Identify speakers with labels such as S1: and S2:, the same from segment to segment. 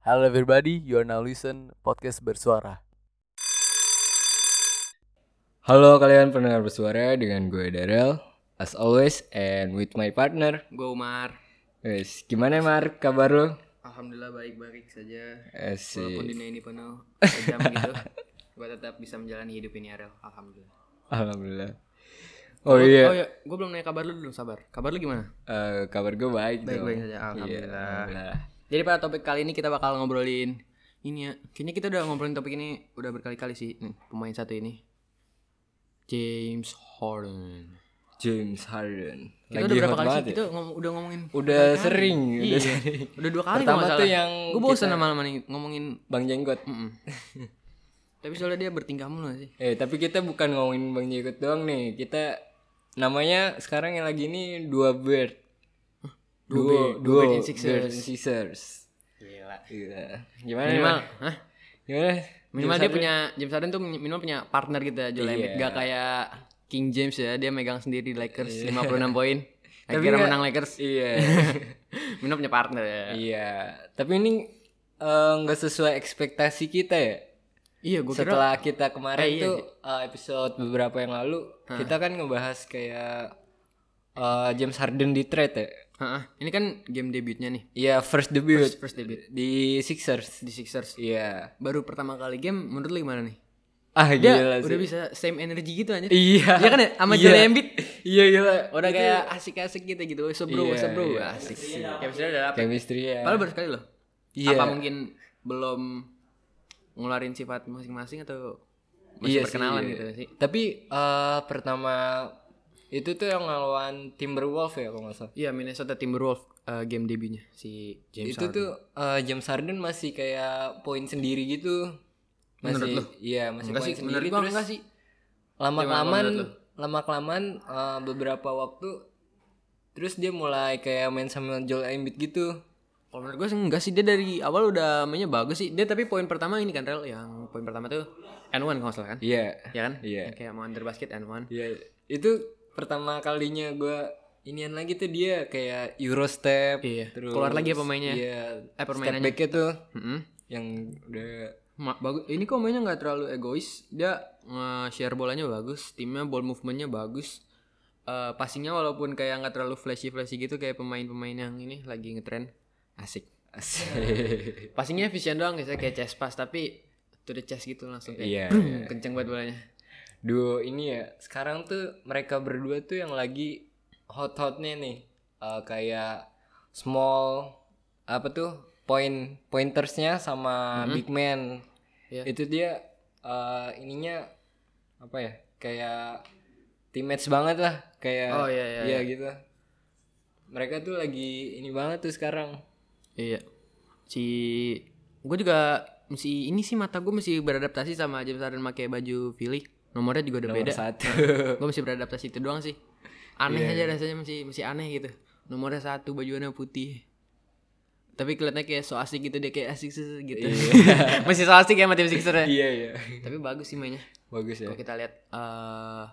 S1: Hello everybody, you are now listen podcast bersuara.
S2: Halo kalian pendengar bersuara dengan gue Darel As always and with my partner
S3: Gue Umar.
S2: Wes, Gimana Mar kabar lo? Eh,
S3: Alhamdulillah baik-baik saja. Walaupun
S2: Asik
S3: dunia ini penuh kejam gitu, gue tetap bisa menjalani hidup ini Ariel. Alhamdulillah.
S2: Alhamdulillah Oh iya,
S3: gue belum nanya kabar lu dulu, sabar. Kabar lu gimana?
S2: Eh, kabar gue baik dong
S3: Baik-baik saja,
S2: Iya,
S3: alhamdulillah.
S2: alhamdulillah.
S3: Jadi pada topik kali ini kita bakal ngobrolin ini ya. Kayaknya kita udah ngobrolin topik ini udah berkali-kali sih. Nih, pemain satu ini. James Harden.
S2: James Harden
S3: Kita udah
S2: hot
S3: berapa kali sih?
S2: banget ya?
S3: Kita ngom- udah ngomongin
S2: Udah sering,
S3: Iya.
S2: udah sering
S3: Udah dua kali
S2: Pertama tuh yang
S3: Gue bosan lama-lama nih ngomongin
S2: Bang Jenggot
S3: Mm-mm. Tapi soalnya dia bertingkah mulu gak sih
S2: Eh tapi kita bukan ngomongin Bang Jenggot doang nih Kita namanya sekarang yang lagi ini dua bird Duo,
S3: Bird- dua Bird
S2: duo,
S3: and Sixers.
S2: Bird and Sixers.
S3: Gila
S2: Iya. Gimana?
S3: Minimal
S2: Mar?
S3: Hah?
S2: Gimana?
S3: Minimal dia punya James Harden tuh minimal punya partner gitu Joel
S2: Iya.
S3: Embiid Gak kayak King James ya Dia megang sendiri di Lakers 56 poin Akhirnya
S2: nggak-
S3: menang Lakers
S2: Iya.
S3: Minimal punya partner ya
S2: iya. Tapi ini eh, nggak sesuai ekspektasi kita ya.
S3: Iya gue kira
S2: Setelah kita kemarin
S3: Eh, iya
S2: tuh eh, episode beberapa yang lalu kita kan ngebahas kayak eh, James Harden di trade ya.
S3: Hah? Ini kan game debutnya nih
S2: Iya, first debut
S3: First debut
S2: di Sixers.
S3: Di Sixers
S2: Iya.
S3: Baru pertama kali game Menurut lu gimana nih?
S2: Ah, gila sih.
S3: Dia udah bisa same energy gitu aja
S2: Iya.
S3: Iya kan ya? Sama
S2: Iya.
S3: Joel Embiid
S2: Iya, gila.
S3: Udah kayak asik-asik gitu gitu What's up bro, what's up bro Asik sih Chemistry udah dapet
S2: chemistry ya.
S3: Padahal baru sekali loh.
S2: Iya.
S3: Apa mungkin belum ngularin sifat masing-masing atau
S2: Iya
S3: masih
S2: sih,
S3: perkenalan
S2: iya.
S3: gitu sih?
S2: Tapi eh, pertama itu tuh yang ngelawan Timberwolves ya kalau nggak salah.
S3: Iya Minnesota Timberwolves eh, game debutnya si James
S2: itu
S3: Harden.
S2: tuh eh, James Harden masih kayak poin sendiri gitu. Masih
S3: Menurut lu?
S2: iya, masih
S3: Enggak
S2: poin
S3: sih, menurut
S2: sendiri
S3: gua
S2: terus
S3: enggak sih.
S2: lama-kelamaan
S3: Gimana menurut
S2: lama-kelamaan eh, beberapa waktu terus dia mulai kayak main sama Joel Embiid gitu.
S3: Kalau menurut gue sih enggak sih dia dari awal udah mainnya bagus sih. Dia tapi poin pertama ini kan Rel yang poin pertama tuh and one kalau nggak salah kan?
S2: Iya.
S3: Iya kan?
S2: Iya.
S3: Yang Kayak mau under basket and one.
S2: Iya. Itu pertama kalinya gua inian lagi tuh dia kayak Eurostep
S3: Iya. Keluar lagi ya pemainnya.
S2: Iya.
S3: Eh,
S2: Step
S3: permainannya.
S2: back-nya tuh
S3: Mm-mm.
S2: yang udah
S3: Ma- bagus. Ini kok mainnya nggak terlalu egois. Dia nge share bolanya bagus, timnya ball movementnya bagus. Eh passingnya walaupun kayak nggak terlalu flashy flashy gitu kayak pemain-pemain yang ini lagi ngetren asik.
S2: Asik.
S3: Passingnya efisien doang biasanya kayak chest pass tapi to the chest gitu langsung kayak
S2: Iya.
S3: brum, kenceng banget bolanya.
S2: Duo ini ya. Sekarang tuh mereka berdua tuh yang lagi hot-hotnya nih. Eh, kayak small apa tuh point pointersnya sama big man.
S3: Mm-hmm. Iya.
S2: Itu dia eh, ininya apa ya? Kayak teammates banget lah. Kayak
S3: Oh, iya, iya,
S2: gitu. Mereka tuh lagi ini banget tuh sekarang.
S3: Iya. Si gue juga mesti ini sih mata gue mesti beradaptasi sama James Harden pakai baju Philly. Nomornya juga udah beda.
S2: Satu.
S3: gue masih beradaptasi itu doang sih aneh aja rasanya masih masih aneh gitu nomornya satu bajuannya putih tapi kelihatannya kayak so asik gitu dia kayak asik sus- gitu masih so asik ya sama tim Sixer ya
S2: iya iya.
S3: tapi bagus sih mainnya
S2: Bagus ya.
S3: kalau kita lihat eh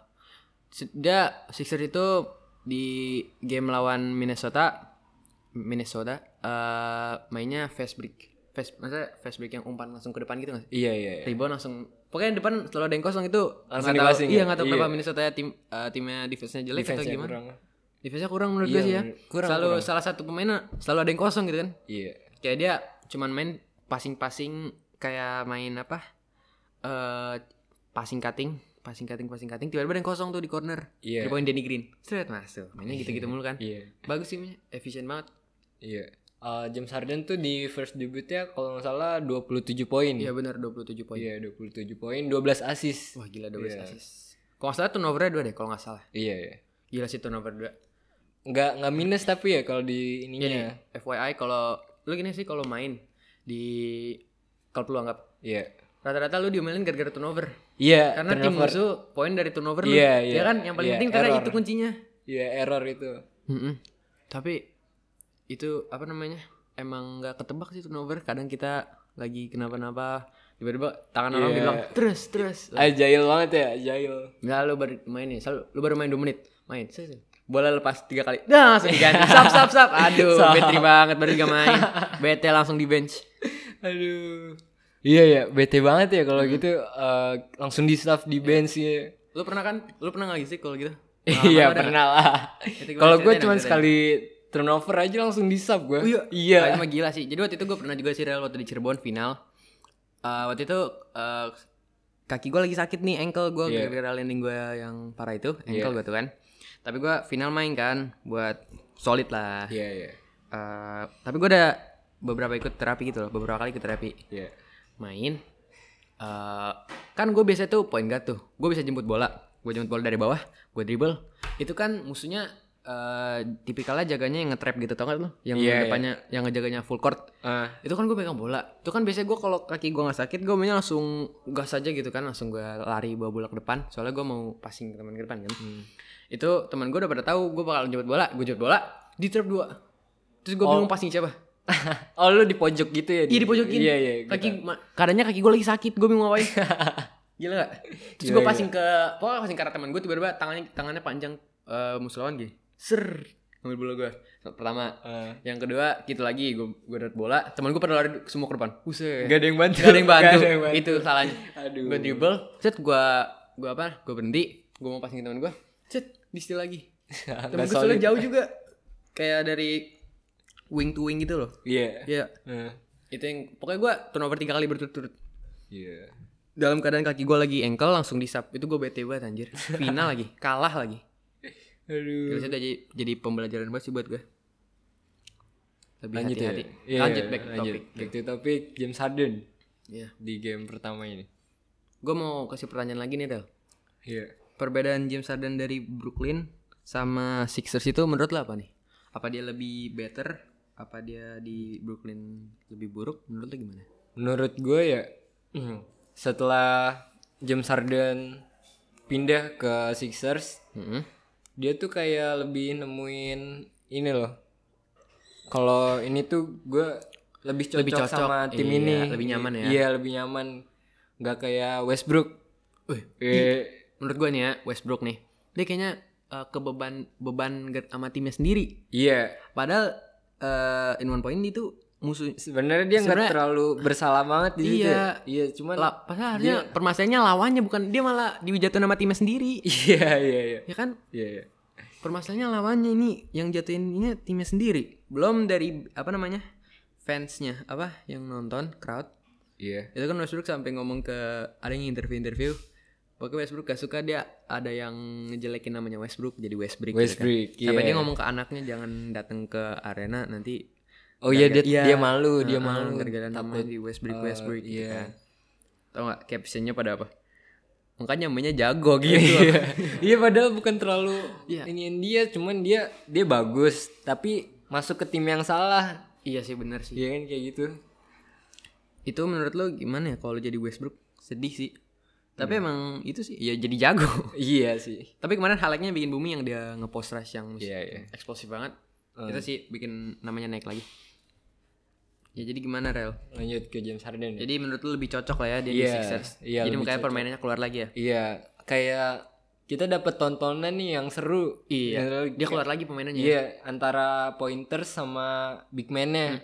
S3: se- dia Sixer itu di game lawan Minnesota Minnesota eh mainnya fast break fast maksudnya fast break yang umpan langsung ke depan gitu nggak sih
S2: Iya iya. iya.
S3: rebound langsung pokoknya yang depan selalu ada yang kosong itu
S2: Langsung
S3: nggak tahu-
S2: dipasing
S3: iya
S2: ya?
S3: nggak tahu
S2: Iya.
S3: kenapa Minnesota ya tim eh, timnya defense-nya jelek atau
S2: Defense-nya
S3: gimana
S2: kurang.
S3: defense-nya kurang menurut
S2: Iya,
S3: gue sih ya
S2: menurut- kurang,
S3: selalu
S2: kurang.
S3: salah satu pemainnya selalu ada yang kosong gitu kan
S2: Iya.
S3: kayak dia cuman main passing-passing kayak main apa eh passing cutting passing cutting passing cutting tiba-tiba ada yang kosong tuh di corner
S2: Iya.
S3: Rebound Danny Green seret masuk mainnya gitu-gitu mulu kan
S2: Iya.
S3: bagus sih mainnya efisien banget
S2: Iya. Eh, James Harden tuh di first debutnya kalau nggak salah 27 poin.
S3: iya benar 27 poin
S2: Iya, 27 poin, 12 assist.
S3: wah gila 12
S2: Iya.
S3: assist kalau nggak salah turnovernya dua deh kalau nggak salah
S2: Iya, iya.
S3: gila sih turnover dua
S2: Nggak nggak minus tapi ya kalau di
S3: Iya
S2: ininya.
S3: nih, FYI kalau lu gini sih kalau main di kalau lu anggap
S2: Iya.
S3: rata-rata lu diomelin gara-gara turnover.
S2: Iya,
S3: Karena tim
S2: turnover.
S3: musuh poin dari turnover lu.
S2: Iya, iya,
S3: Ya kan yang paling
S2: iya,
S3: penting karena
S2: error.
S3: itu kuncinya.
S2: Iya, error itu.
S3: Tapi itu apa namanya? Emang nggak ketebak sih turnover. Kadang kita lagi kenapa-napa tiba-tiba tangan orang
S2: Iya.
S3: bilang terus terus.
S2: Ajail banget ya, ajail.
S3: Nah, lu baru main nih, selalu- lu baru main 2 menit. Main. set, set. Bola lepas tiga kali. Nah, Dah, langsung diganti. Sap sap sap. Aduh,
S2: Sap.
S3: betri banget baru juga main. Bete langsung di bench.
S2: Aduh. Iya ya, bete banget ya kalau
S3: Hmm.
S2: gitu eh, langsung di staff
S3: Iya.
S2: di bench ya.
S3: Lu pernah kan? Lu pernah nggak sih kalau gitu?
S2: Iya pernah lah.
S3: Itu gimana
S2: Kalau gue
S3: ceritain, ya,
S2: cuma
S3: ceritain.
S2: sekali turnover aja langsung di sub
S3: Oh
S2: gue.
S3: Tapi
S2: Iya.
S3: emang gila sih. Jadi waktu itu gue pernah juga sih Real waktu di Cirebon final. Eh, waktu itu eh, kaki gue lagi sakit nih ankle gue
S2: Iya.
S3: gara-gara landing gue yang parah itu ankle gue tuh kan. Tapi gue final main kan buat solid lah.
S2: Iya iya.
S3: Eh, tapi gue udah beberapa ikut terapi gitu loh, beberapa kali ikut terapi
S2: Iya.
S3: main. eh kan gue biasa tuh point guard tuh, gue bisa jemput bola, gue jemput bola dari bawah, gue dribble. Itu kan musuhnya eh, tipikalnya jaganya yang nge-trap gitu tau gak lo? Yang
S2: Iya, iya.
S3: depannya, yang ngejaganya full court.
S2: Ah,
S3: Itu kan gue pegang bola. Itu kan biasanya gue kalau kaki gue nggak sakit, gue mainnya langsung gas aja gitu kan, langsung gue lari bawa bola ke depan. Soalnya gue mau passing ke teman ke depan kan. Itu teman gue udah pada tahu gue bakal jemput bola, gue jemput bola di trap dua. Terus gue bingung passing siapa?
S2: oh lu di pojok gitu ya?
S3: Iya dipojokin.
S2: Iya iya. gua
S3: Kaki ma- kadangnya kaki gue lagi sakit, gue bingung ngapain. Gila Iya, gak? Terus gue
S2: Gila,
S3: passing ke, pokoknya passing ke arah teman gue tiba-tiba tangannya tangannya panjang eh musuh gini. Ser, ambil bola gue. Pertama,
S2: tahu. Ah.
S3: yang kedua gitu lagi gue gue dapat bola, teman gue pada lari semua ke depan. Buset.
S2: Gak ada yang bantu.
S3: Gak ada yang bantu.
S2: Gak ada yang bantu.
S3: Itu salahnya.
S2: Aduh.
S3: Gue dribble, set gue gue apa? Gue berhenti, gue mau passing ke teman gue. Set, di steal lagi. Temen
S2: Gak
S3: gue soalnya
S2: solid.
S3: jauh juga. Kayak dari wing to wing gitu loh.
S2: Iya.
S3: Iya
S2: Ah.
S3: itu yang pokoknya gue turnover tiga kali berturut-turut
S2: Iya.
S3: dalam keadaan kaki gue lagi engkel langsung disap itu gue bete banget anjir final lagi kalah lagi
S2: Aduh.
S3: itu jadi jadi pembelajaran banget sih buat gue lebih
S2: Lanjut ya.
S3: hati-hati
S2: Iya,
S3: lanjut back to topic
S2: Back to topic James Harden
S3: Iya.
S2: di game pertama ini.
S3: gue mau kasih pertanyaan lagi nih Del
S2: Iya.
S3: perbedaan James Harden dari Brooklyn sama Sixers itu menurut lo apa nih apa dia lebih better apa dia di Brooklyn lebih buruk menurut lo gimana
S2: Menurut gue ya setelah James Harden pindah ke Sixers,
S3: Heeh.
S2: dia tuh kayak lebih nemuin ini loh. Kalau ini tuh gue lebih cocok,
S3: Lebih cocok,
S2: sama tim
S3: iya,
S2: ini.
S3: lebih nyaman ya.
S2: Iya, lebih nyaman. Gak kayak Westbrook. Eh,
S3: menurut gue nih ya Westbrook nih dia kayaknya eh, kebeban beban get- sama timnya sendiri
S2: Iya,
S3: padahal eh, in one point itu musuh
S2: sebenarnya dia nggak
S3: Sebenarnya-
S2: terlalu bersalah banget di situ.
S3: Iya.
S2: Iya, cuman
S3: La, padahal harusnya permasalahannya lawannya bukan dia malah dijatuhin sama timnya sendiri
S2: iya iya iya.
S3: ya kan
S2: Iya, iya.
S3: permasalahannya lawannya ini yang jatuhin ini timnya sendiri belum dari apa namanya fansnya apa yang nonton crowd
S2: Iya.
S3: itu kan Westbrook sampai ngomong ke ada yang interview interview pokoknya Westbrook gak suka dia ada yang ngejelekin namanya Westbrook jadi Westbrook gitu kan.
S2: Westbrook,
S3: sampai
S2: iya.
S3: dia ngomong ke anaknya jangan datang ke arena nanti
S2: Oh iya dia,
S3: Gara-gara- iya.
S2: dia malu, dia
S3: Heeh,
S2: malu.
S3: gara-gara namanya di Westbrook Westbrook gitu
S2: iya.
S3: kan tau gak captionnya pada apa makanya namanya jago gitu
S2: Iya. iya padahal bukan terlalu
S3: Iya.
S2: ini dia, cuman dia dia bagus, tapi masuk ke tim yang salah.
S3: iya sih bener sih
S2: Iya kan kayak gitu.
S3: itu menurut lo gimana ya kalau jadi Westbrook sedih sih
S2: Hmm.
S3: tapi emang itu sih ya jadi jago
S2: Iya sih.
S3: Tapi kemarin highlightnya bikin bumi yang dia ngepost rush yang mus-
S2: Iya, Eh. iya.
S3: eksplosif banget. Itu sih bikin namanya naik lagi. Ya jadi gimana Rel?
S2: Lanjut ke James Harden. ya.
S3: Jadi menurut lu lebih cocok lah ya dia di
S2: Iya,
S3: Sixers.
S2: iya,
S3: jadi
S2: lebih
S3: makanya permainannya keluar lagi ya.
S2: Iya, kayak kita dapat tontonan nih yang seru. Yang-
S3: Iya. Dia keluar lagi pemainannya.
S2: Iya, antara pointer sama big man-nya.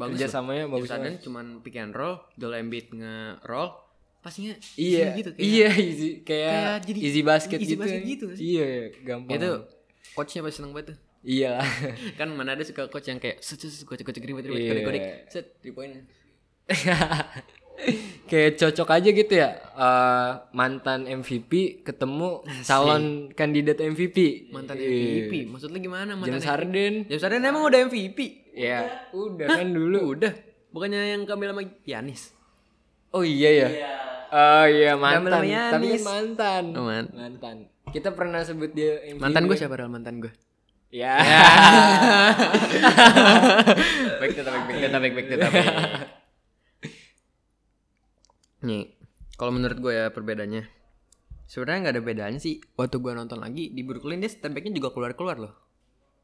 S3: Bagus loh.
S2: Kerjasamanya ya, bagus
S3: James Harden cuman pick and roll, Joel Embiid nge-roll, pastinya
S2: Iya,
S3: easy gitu kayak.
S2: iya, easy, kayak,
S3: kayak jadi-
S2: easy basket
S3: easy
S2: gitu.
S3: basket gitu sih.
S2: Iya, iya, gampang.
S3: Itu coachnya pasti seneng banget tuh.
S2: Iya lah.
S3: kan mana ada suka coach yang kayak set set set, coach coach ribet ribet
S2: Iya.
S3: kodik kodik set di poin.
S2: kayak cocok aja gitu ya. eh, mantan MVP ketemu calon kandidat MVP.
S3: Mantan
S2: Iya.
S3: MVP. Maksud lu gimana mantan
S2: James Harden.
S3: James Harden Ya, emang udah MVP.
S2: Ya, udah kan dulu.
S3: Udah. Bukannya yang kami sama Yanis.
S2: Oh iya ya. Oh iya mantan.
S3: Gamel sama
S2: Tapi
S3: Yanis.
S2: mantan.
S3: Oh, man- Iya.
S2: Mantan. Kita pernah sebut dia MVP.
S3: Mantan Iya. gue siapa Ral? Mantan gue.
S2: Ya.
S3: Baik tetap baik tetap baik baik tetap. Nih, kalau menurut gue ya perbedaannya. Sebenarnya nggak ada bedanya sih. Waktu gue nonton lagi di Brooklyn dia step backnya juga keluar keluar loh.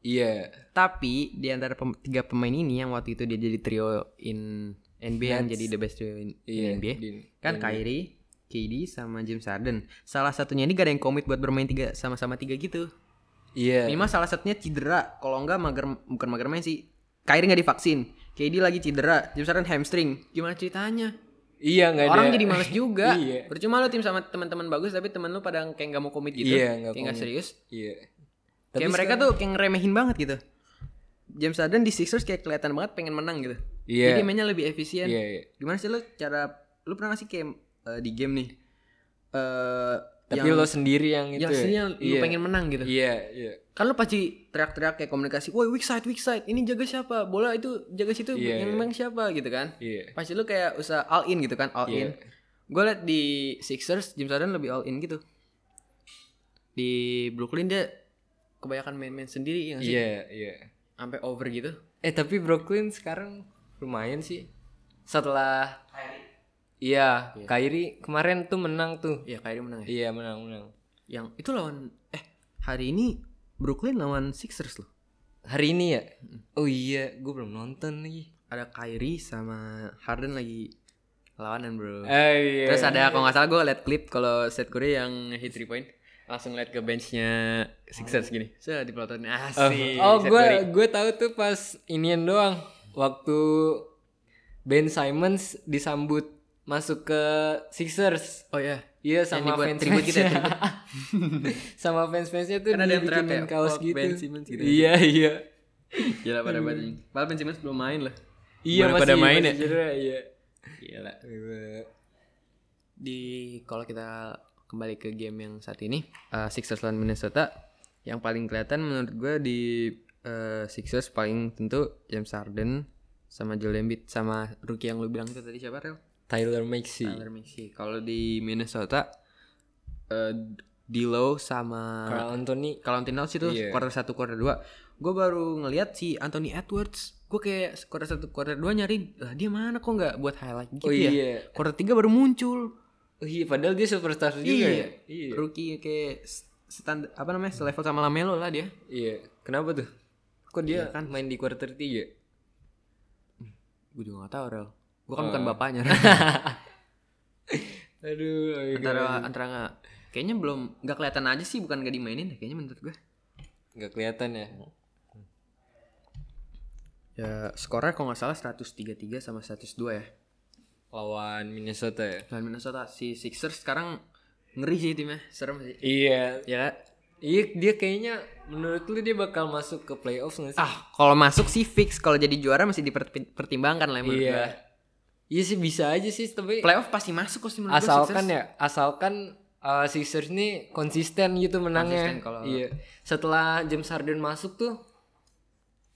S2: Iya.
S3: Tapi di antara pem- tiga pemain ini yang waktu itu dia jadi trio in NBA yang jadi the best trio in, in
S2: Iya,
S3: NBA.
S2: di-
S3: kan Kyrie, KD sama James Harden. Salah satunya ini gak ada yang komit buat bermain tiga sama-sama tiga gitu.
S2: Iya.
S3: Minimal salah satunya cedera, kalau enggak mager bukan mager main sih. Kyrie nggak divaksin, KD lagi cedera, tim saran hamstring. Gimana ceritanya?
S2: Iya nggak ada.
S3: Orang jadi males juga.
S2: Iya.
S3: Percuma lu tim sama teman-teman bagus tapi teman lu pada kayak nggak mau komit gitu.
S2: Iya, nggak
S3: kayak nggak
S2: komit.
S3: serius.
S2: Iya.
S3: kayak mereka tuh kayak ngeremehin banget gitu. James Harden di Sixers kayak kelihatan banget pengen menang gitu.
S2: Iya.
S3: Jadi mainnya lebih efisien.
S2: Iya, iya.
S3: Gimana sih lu cara lu pernah ngasih kayak eh, di game nih? Eh
S2: Tapi
S3: yang,
S2: lo sendiri yang itu.
S3: yang
S2: ya?
S3: sendiri yang lu
S2: Iya.
S3: pengen menang gitu.
S2: Iya, iya.
S3: Kan lu pasti teriak-teriak kayak komunikasi, "Woi, weak side, weak side. Ini jaga siapa? Bola itu jaga situ,
S2: Iya, iya.
S3: yang menang siapa?" gitu kan.
S2: Iya.
S3: Pasti lu kayak usaha all in gitu kan, all in.
S2: Iya.
S3: Gue liat di Sixers James Harden lebih all in gitu. Di Brooklyn dia kebanyakan main-main sendiri ya nggak sih?
S2: Iya, iya.
S3: Sampai over gitu.
S2: Eh, tapi Brooklyn sekarang lumayan sih. Setelah Iya, Kyrie kemarin tuh menang tuh.
S3: Iya, Kyrie menang ya.
S2: Iya, menang, menang.
S3: Yang itu lawan eh hari ini Brooklyn lawan Sixers loh.
S2: Hari ini ya? Oh iya, gue belum nonton lagi.
S3: Ada Kyrie sama Harden lagi lawanan, Bro.
S2: Eh, iya.
S3: Terus ada kalau nggak salah gue liat klip kalau Seth Curry yang hit 3 point langsung liat ke benchnya Sixers gini. Saya dipelototin asik.
S2: Oh,
S3: Seth
S2: gue
S3: Curry.
S2: gue tahu tuh pas inian doang. Waktu Ben Simons disambut masuk ke Sixers.
S3: Oh ya.
S2: Iya sama
S3: dibuat
S2: fans
S3: tribute gitu ya,
S2: fansnya sama fans fansnya tuh
S3: Kan ada yang
S2: dibikinin
S3: teriak ya,
S2: kaos
S3: "Fuck
S2: gitu.
S3: Ben Simmons gitu.
S2: Iya iya.
S3: Gila pada banyak. Padahal Ben Simmons belum main lah.
S2: Iya
S3: Baru
S2: masih
S3: pada main
S2: masih
S3: ya.
S2: Cedera, iya.
S3: Gila. Di kalau kita kembali ke game yang saat ini eh, Sixers lawan Minnesota yang paling kelihatan menurut gue di eh, Sixers paling tentu James Harden sama Joel Embiid sama rookie yang lu bilang itu tadi siapa Rel?
S2: Tyler Maxey.
S3: Tyler Maxey. Kalau di Minnesota eh D'Lo sama
S2: Karl Anthony.
S3: kalau Anthony Edwards itu
S2: Iya.
S3: quarter 1 quarter 2 gue baru ngeliat si Anthony Edwards gue kayak quarter 1 quarter 2 nyari lah dia mana kok nggak buat highlight gitu
S2: Oh
S3: ya
S2: iya.
S3: quarter 3 baru muncul
S2: Oh iya, padahal dia superstar juga ya. Iya.
S3: rookie kayak stand apa namanya selevel sama Lamelo lah dia
S2: Iya. Kenapa tuh? Kok dia kan main di quarter 3?
S3: gue juga gak tau Rel gue kan bukan bapaknya Rel.
S2: Aduh, agak-
S3: antara antara nggak kayaknya belum nggak kelihatan aja sih bukan gak dimainin deh kayaknya menurut gue
S2: nggak kelihatan ya.
S3: ya skornya kalau nggak salah 133 sama 102 ya
S2: Lawan Minnesota ya.
S3: dan Minnesota si Sixers sekarang ngeri sih timnya serem sih
S2: Iya.
S3: ya
S2: Iya, dia kayaknya menurut lu dia bakal masuk ke playoff nggak sih?
S3: Ah, kalau masuk sih fix, kalau jadi juara masih dipertimbangkan lah ya menurut
S2: iya.
S3: gua.
S2: Iya sih bisa aja sih, tapi
S3: Playoff pasti masuk kok sih menurut
S2: asalkan ya, asalkan uh, Sixers ini konsisten gitu menangnya.
S3: Konsisten kalau-
S2: Iya. Setelah James Harden masuk tuh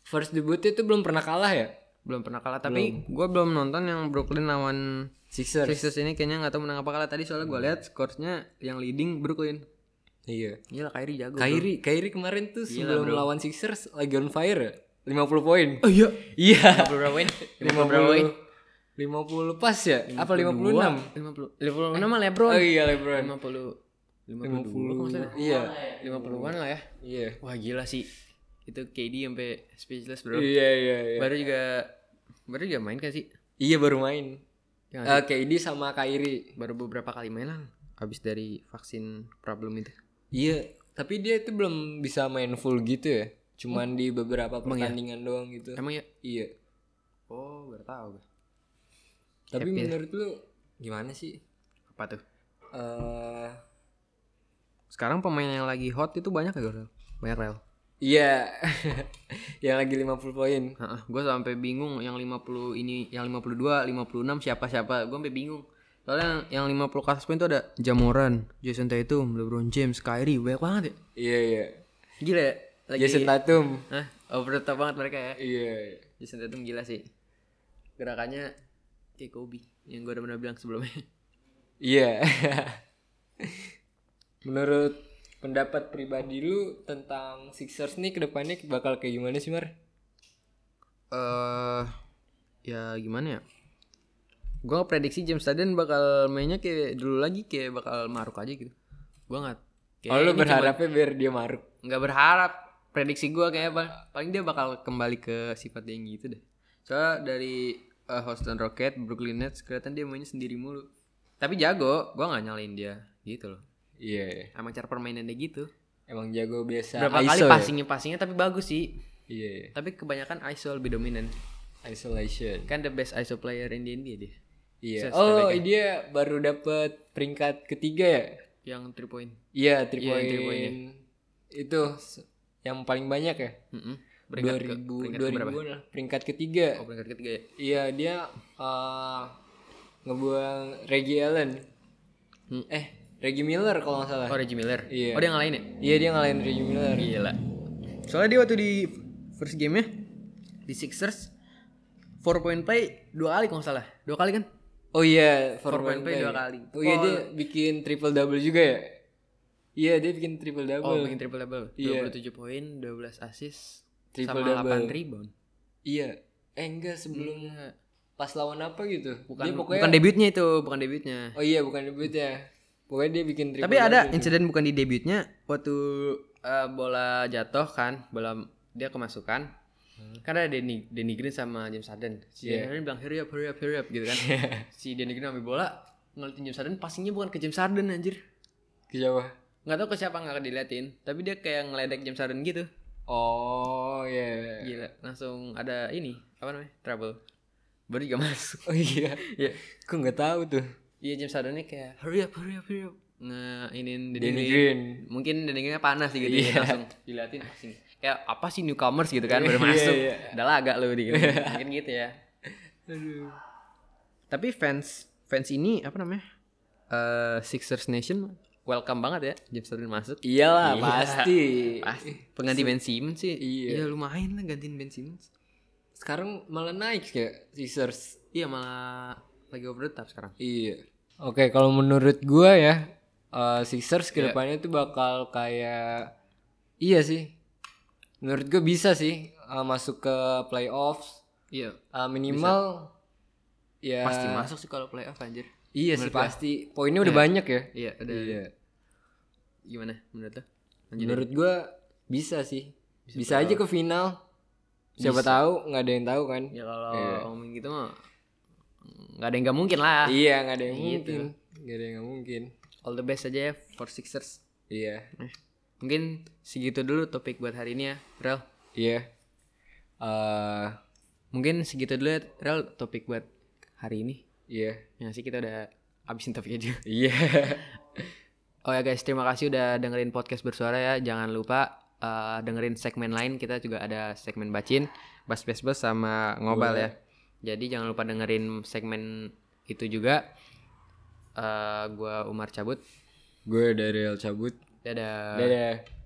S2: first debutnya tuh belum pernah kalah ya
S3: belum pernah kalah tapi gua belum nonton yang Brooklyn lawan
S2: Sixers.
S3: Sixers ini kayaknya nggak tahu menang apa kalah tadi soalnya gua lihat skornya yang leading Brooklyn.
S2: Iya.
S3: Gila Kyrie jago.
S2: Kyrie, Kyrie kemarin tuh sebelum
S3: bro.
S2: lawan Sixers lagi on fire ya. 50 poin.
S3: Oh iya.
S2: Iya.
S3: Berapa poin?
S2: 50
S3: berapa poin?
S2: 50 pas ya? Apa 56?
S3: 50. 50 mah LeBron.
S2: Oh iya LeBron.
S3: 50
S2: 50.
S3: 50
S2: Iya.
S3: 50-an lah ya.
S2: Iya.
S3: Wah, gila sih. Itu KD sampai speechless, Bro.
S2: Iya iya iya.
S3: Baru juga baru juga main kan sih?
S2: Iya baru main.
S3: Ya nggak sih?
S2: Eh KD sama Kyrie.
S3: baru beberapa kali main lah habis dari vaksin problem itu
S2: Iya, tapi dia itu belum bisa main full gitu ya. Cuman di beberapa
S3: iya?
S2: pertandingan doang gitu.
S3: emang ya
S2: Iya.
S3: oh baru tahu gue
S2: Tapi
S3: Happy. ya?
S2: menurut lu gimana sih?
S3: apa tuh
S2: Eh
S3: sekarang pemain yang lagi hot itu banyak ya Rel banyak Rel
S2: iya. yang lagi 50 poin.
S3: gue sampai bingung yang 50 ini yang 52 56 siapa siapa gue sampai bingung soalnya yang, yang 50 kasus poin itu ada Jamoran Jason Tatum LeBron James Kyrie banyak banget ya
S2: Iya iya.
S3: gila ya lagi
S2: Jason Tatum.
S3: Hah? over the top banget mereka ya
S2: Iya.
S3: Jason Tatum gila sih gerakannya kayak Kobe yang gue udah pernah bilang sebelumnya
S2: Iya. Menurut pendapat pribadi lu tentang Sixers nih kedepannya bakal kayak gimana sih Mar?
S3: eh ya gimana ya? Gue prediksi James Harden bakal mainnya kayak dulu lagi kayak bakal maruk aja gitu. Gue nggak. kayak
S2: Oh lu
S3: ini cuma-
S2: berharapnya biar dia maruk.
S3: Nggak berharap. Prediksi gue kayak apa? Paling dia bakal kembali ke sifat dia yang gitu deh. Soalnya dari eh, Houston Rockets, Brooklyn Nets kelihatan dia mainnya sendiri mulu. Tapi jago, gue nggak nyalain dia gitu loh.
S2: Iya. iya.
S3: Emang cara permainannya gitu.
S2: Emang jago biasa
S3: Berapa kali
S2: ISO ya?
S3: passingnya passingnya tapi bagus sih.
S2: Iya. iya.
S3: Tapi kebanyakan ISO lebih dominan.
S2: Isolation.
S3: Kan the best ISO player in the NBA dia.
S2: Iya.
S3: Set-
S2: Oh,
S3: setback-nya.
S2: dia baru dapat peringkat ketiga ya?
S3: Yang 3 point.
S2: Iya, 3
S3: Iya,
S2: point.
S3: three point-nya.
S2: Itu s- yang paling banyak ya?
S3: Heeh.
S2: 2000 2000-an lah. peringkat ketiga.
S3: Oh, peringkat ketiga ya.
S2: Iya, dia eh, ngebuang Reggie Allen.
S3: Hmm.
S2: Eh, Reggie Miller kalau nggak salah.
S3: Oh, Reggie Miller.
S2: Iya.
S3: Oh, dia ngalahin ya?
S2: Iya, dia ngalahin Reggie Miller.
S3: Gila. Soalnya dia waktu di first game-nya di Sixers 4 point play dua kali kalau nggak salah. Dua kali kan?
S2: Oh iya, four
S3: Four point play dua kali.
S2: Oh iya
S3: Paul-
S2: dia bikin triple double juga ya? Iya, dia bikin triple double.
S3: Oh, bikin triple double.
S2: Iya.
S3: 27 poin, 12 assist,
S2: Triple
S3: sama
S2: double.
S3: 8 rebound.
S2: Iya. Eh enggak sebelum pas lawan apa gitu.
S3: Bukan
S2: dia pokoknya
S3: bukan debutnya itu, bukan debutnya.
S2: Oh iya, bukan debut ya. Pokoknya dia bikin triple
S3: Tapi ada
S2: double.
S3: insiden bukan di debutnya waktu eh, bola jatuh kan, bola dia kemasukan. Karena ada Danny, Danny Green sama James Harden. Si
S2: Hmm. Iya.
S3: Danny Green bilang hurry up, hurry up, hurry up gitu kan. si Danny Green ambil bola, ngeliatin James Harden, passingnya bukan ke James Harden anjir.
S2: ke Jawa.
S3: Nggak tahu ke siapa nggak diliatin, tapi dia kayak ngeledek James Harden gitu.
S2: Oh iya.
S3: Gila, langsung ada ini, apa namanya? Trouble. Baru juga masuk.
S2: Oh iya.
S3: Iya.
S2: Kok nggak tahu tuh.
S3: Iya James Hardennya kayak hurry up, hurry up, hurry up. Nah, ini Danny,
S2: Danny
S3: Green.
S2: Green.
S3: Mungkin Danny Greennya panas gitu
S2: Iya.
S3: ya, langsung diliatin asing. Kayak apa sih newcomers gitu kan baru
S2: Iya,
S3: masuk.
S2: iya.
S3: Udah lagak lu gitu. Mungkin gitu ya.
S2: Aduh.
S3: Tapi fans fans ini apa namanya? Eh Sixers Nation welcome banget ya James Harden masuk.
S2: Iyalah,
S3: Iya.
S2: pasti.
S3: Pasti. Pengganti Ben Simmons sih.
S2: Iya.
S3: Ya lumayan lah gantiin Ben Simmons.
S2: Sekarang malah naik ya Sixers.
S3: Iya malah lagi over the top sekarang.
S2: Iya. Oke, kalau menurut gua ya eh, Sixers kedepannya tuh bakal kayak iya sih. Menurut gua bisa sih eh, masuk ke playoffs
S3: Iya.
S2: Eh, minimal ya
S3: Pasti masuk sih kalau playoff anjir.
S2: Iya sih
S3: Menurut gua.
S2: pasti. Poinnya udah banyak ya.
S3: Iya, udah
S2: Iya.
S3: gimana menurut lo? Lanjutin.
S2: Menurut gua bisa sih. Bisa, aja ke final. Siapa tahu nggak ada yang tahu kan?
S3: Ya kalau ngomongin gitu mah mm, nggak ada yang nggak mungkin lah.
S2: Iya nggak ada yang
S3: Gitu.
S2: mungkin. Nggak ada yang nggak mungkin.
S3: All the best aja ya for Sixers.
S2: Iya.
S3: Mungkin segitu dulu topik buat hari ini ya, Rel.
S2: Iya. Eh,
S3: Mungkin segitu dulu ya, Rel, topik buat hari ini.
S2: Iya.
S3: Ya sih kita udah abisin topiknya juga.
S2: Iya.
S3: Oh ya guys, terima kasih udah dengerin podcast bersuara ya. Jangan lupa eh, dengerin segmen lain. Kita juga ada segmen bacin, bas bas bas sama ngobal ya. Jadi jangan lupa dengerin segmen itu juga. Eh gua Umar cabut.
S2: Gue dari El cabut.
S3: Dadah.
S2: Dadah.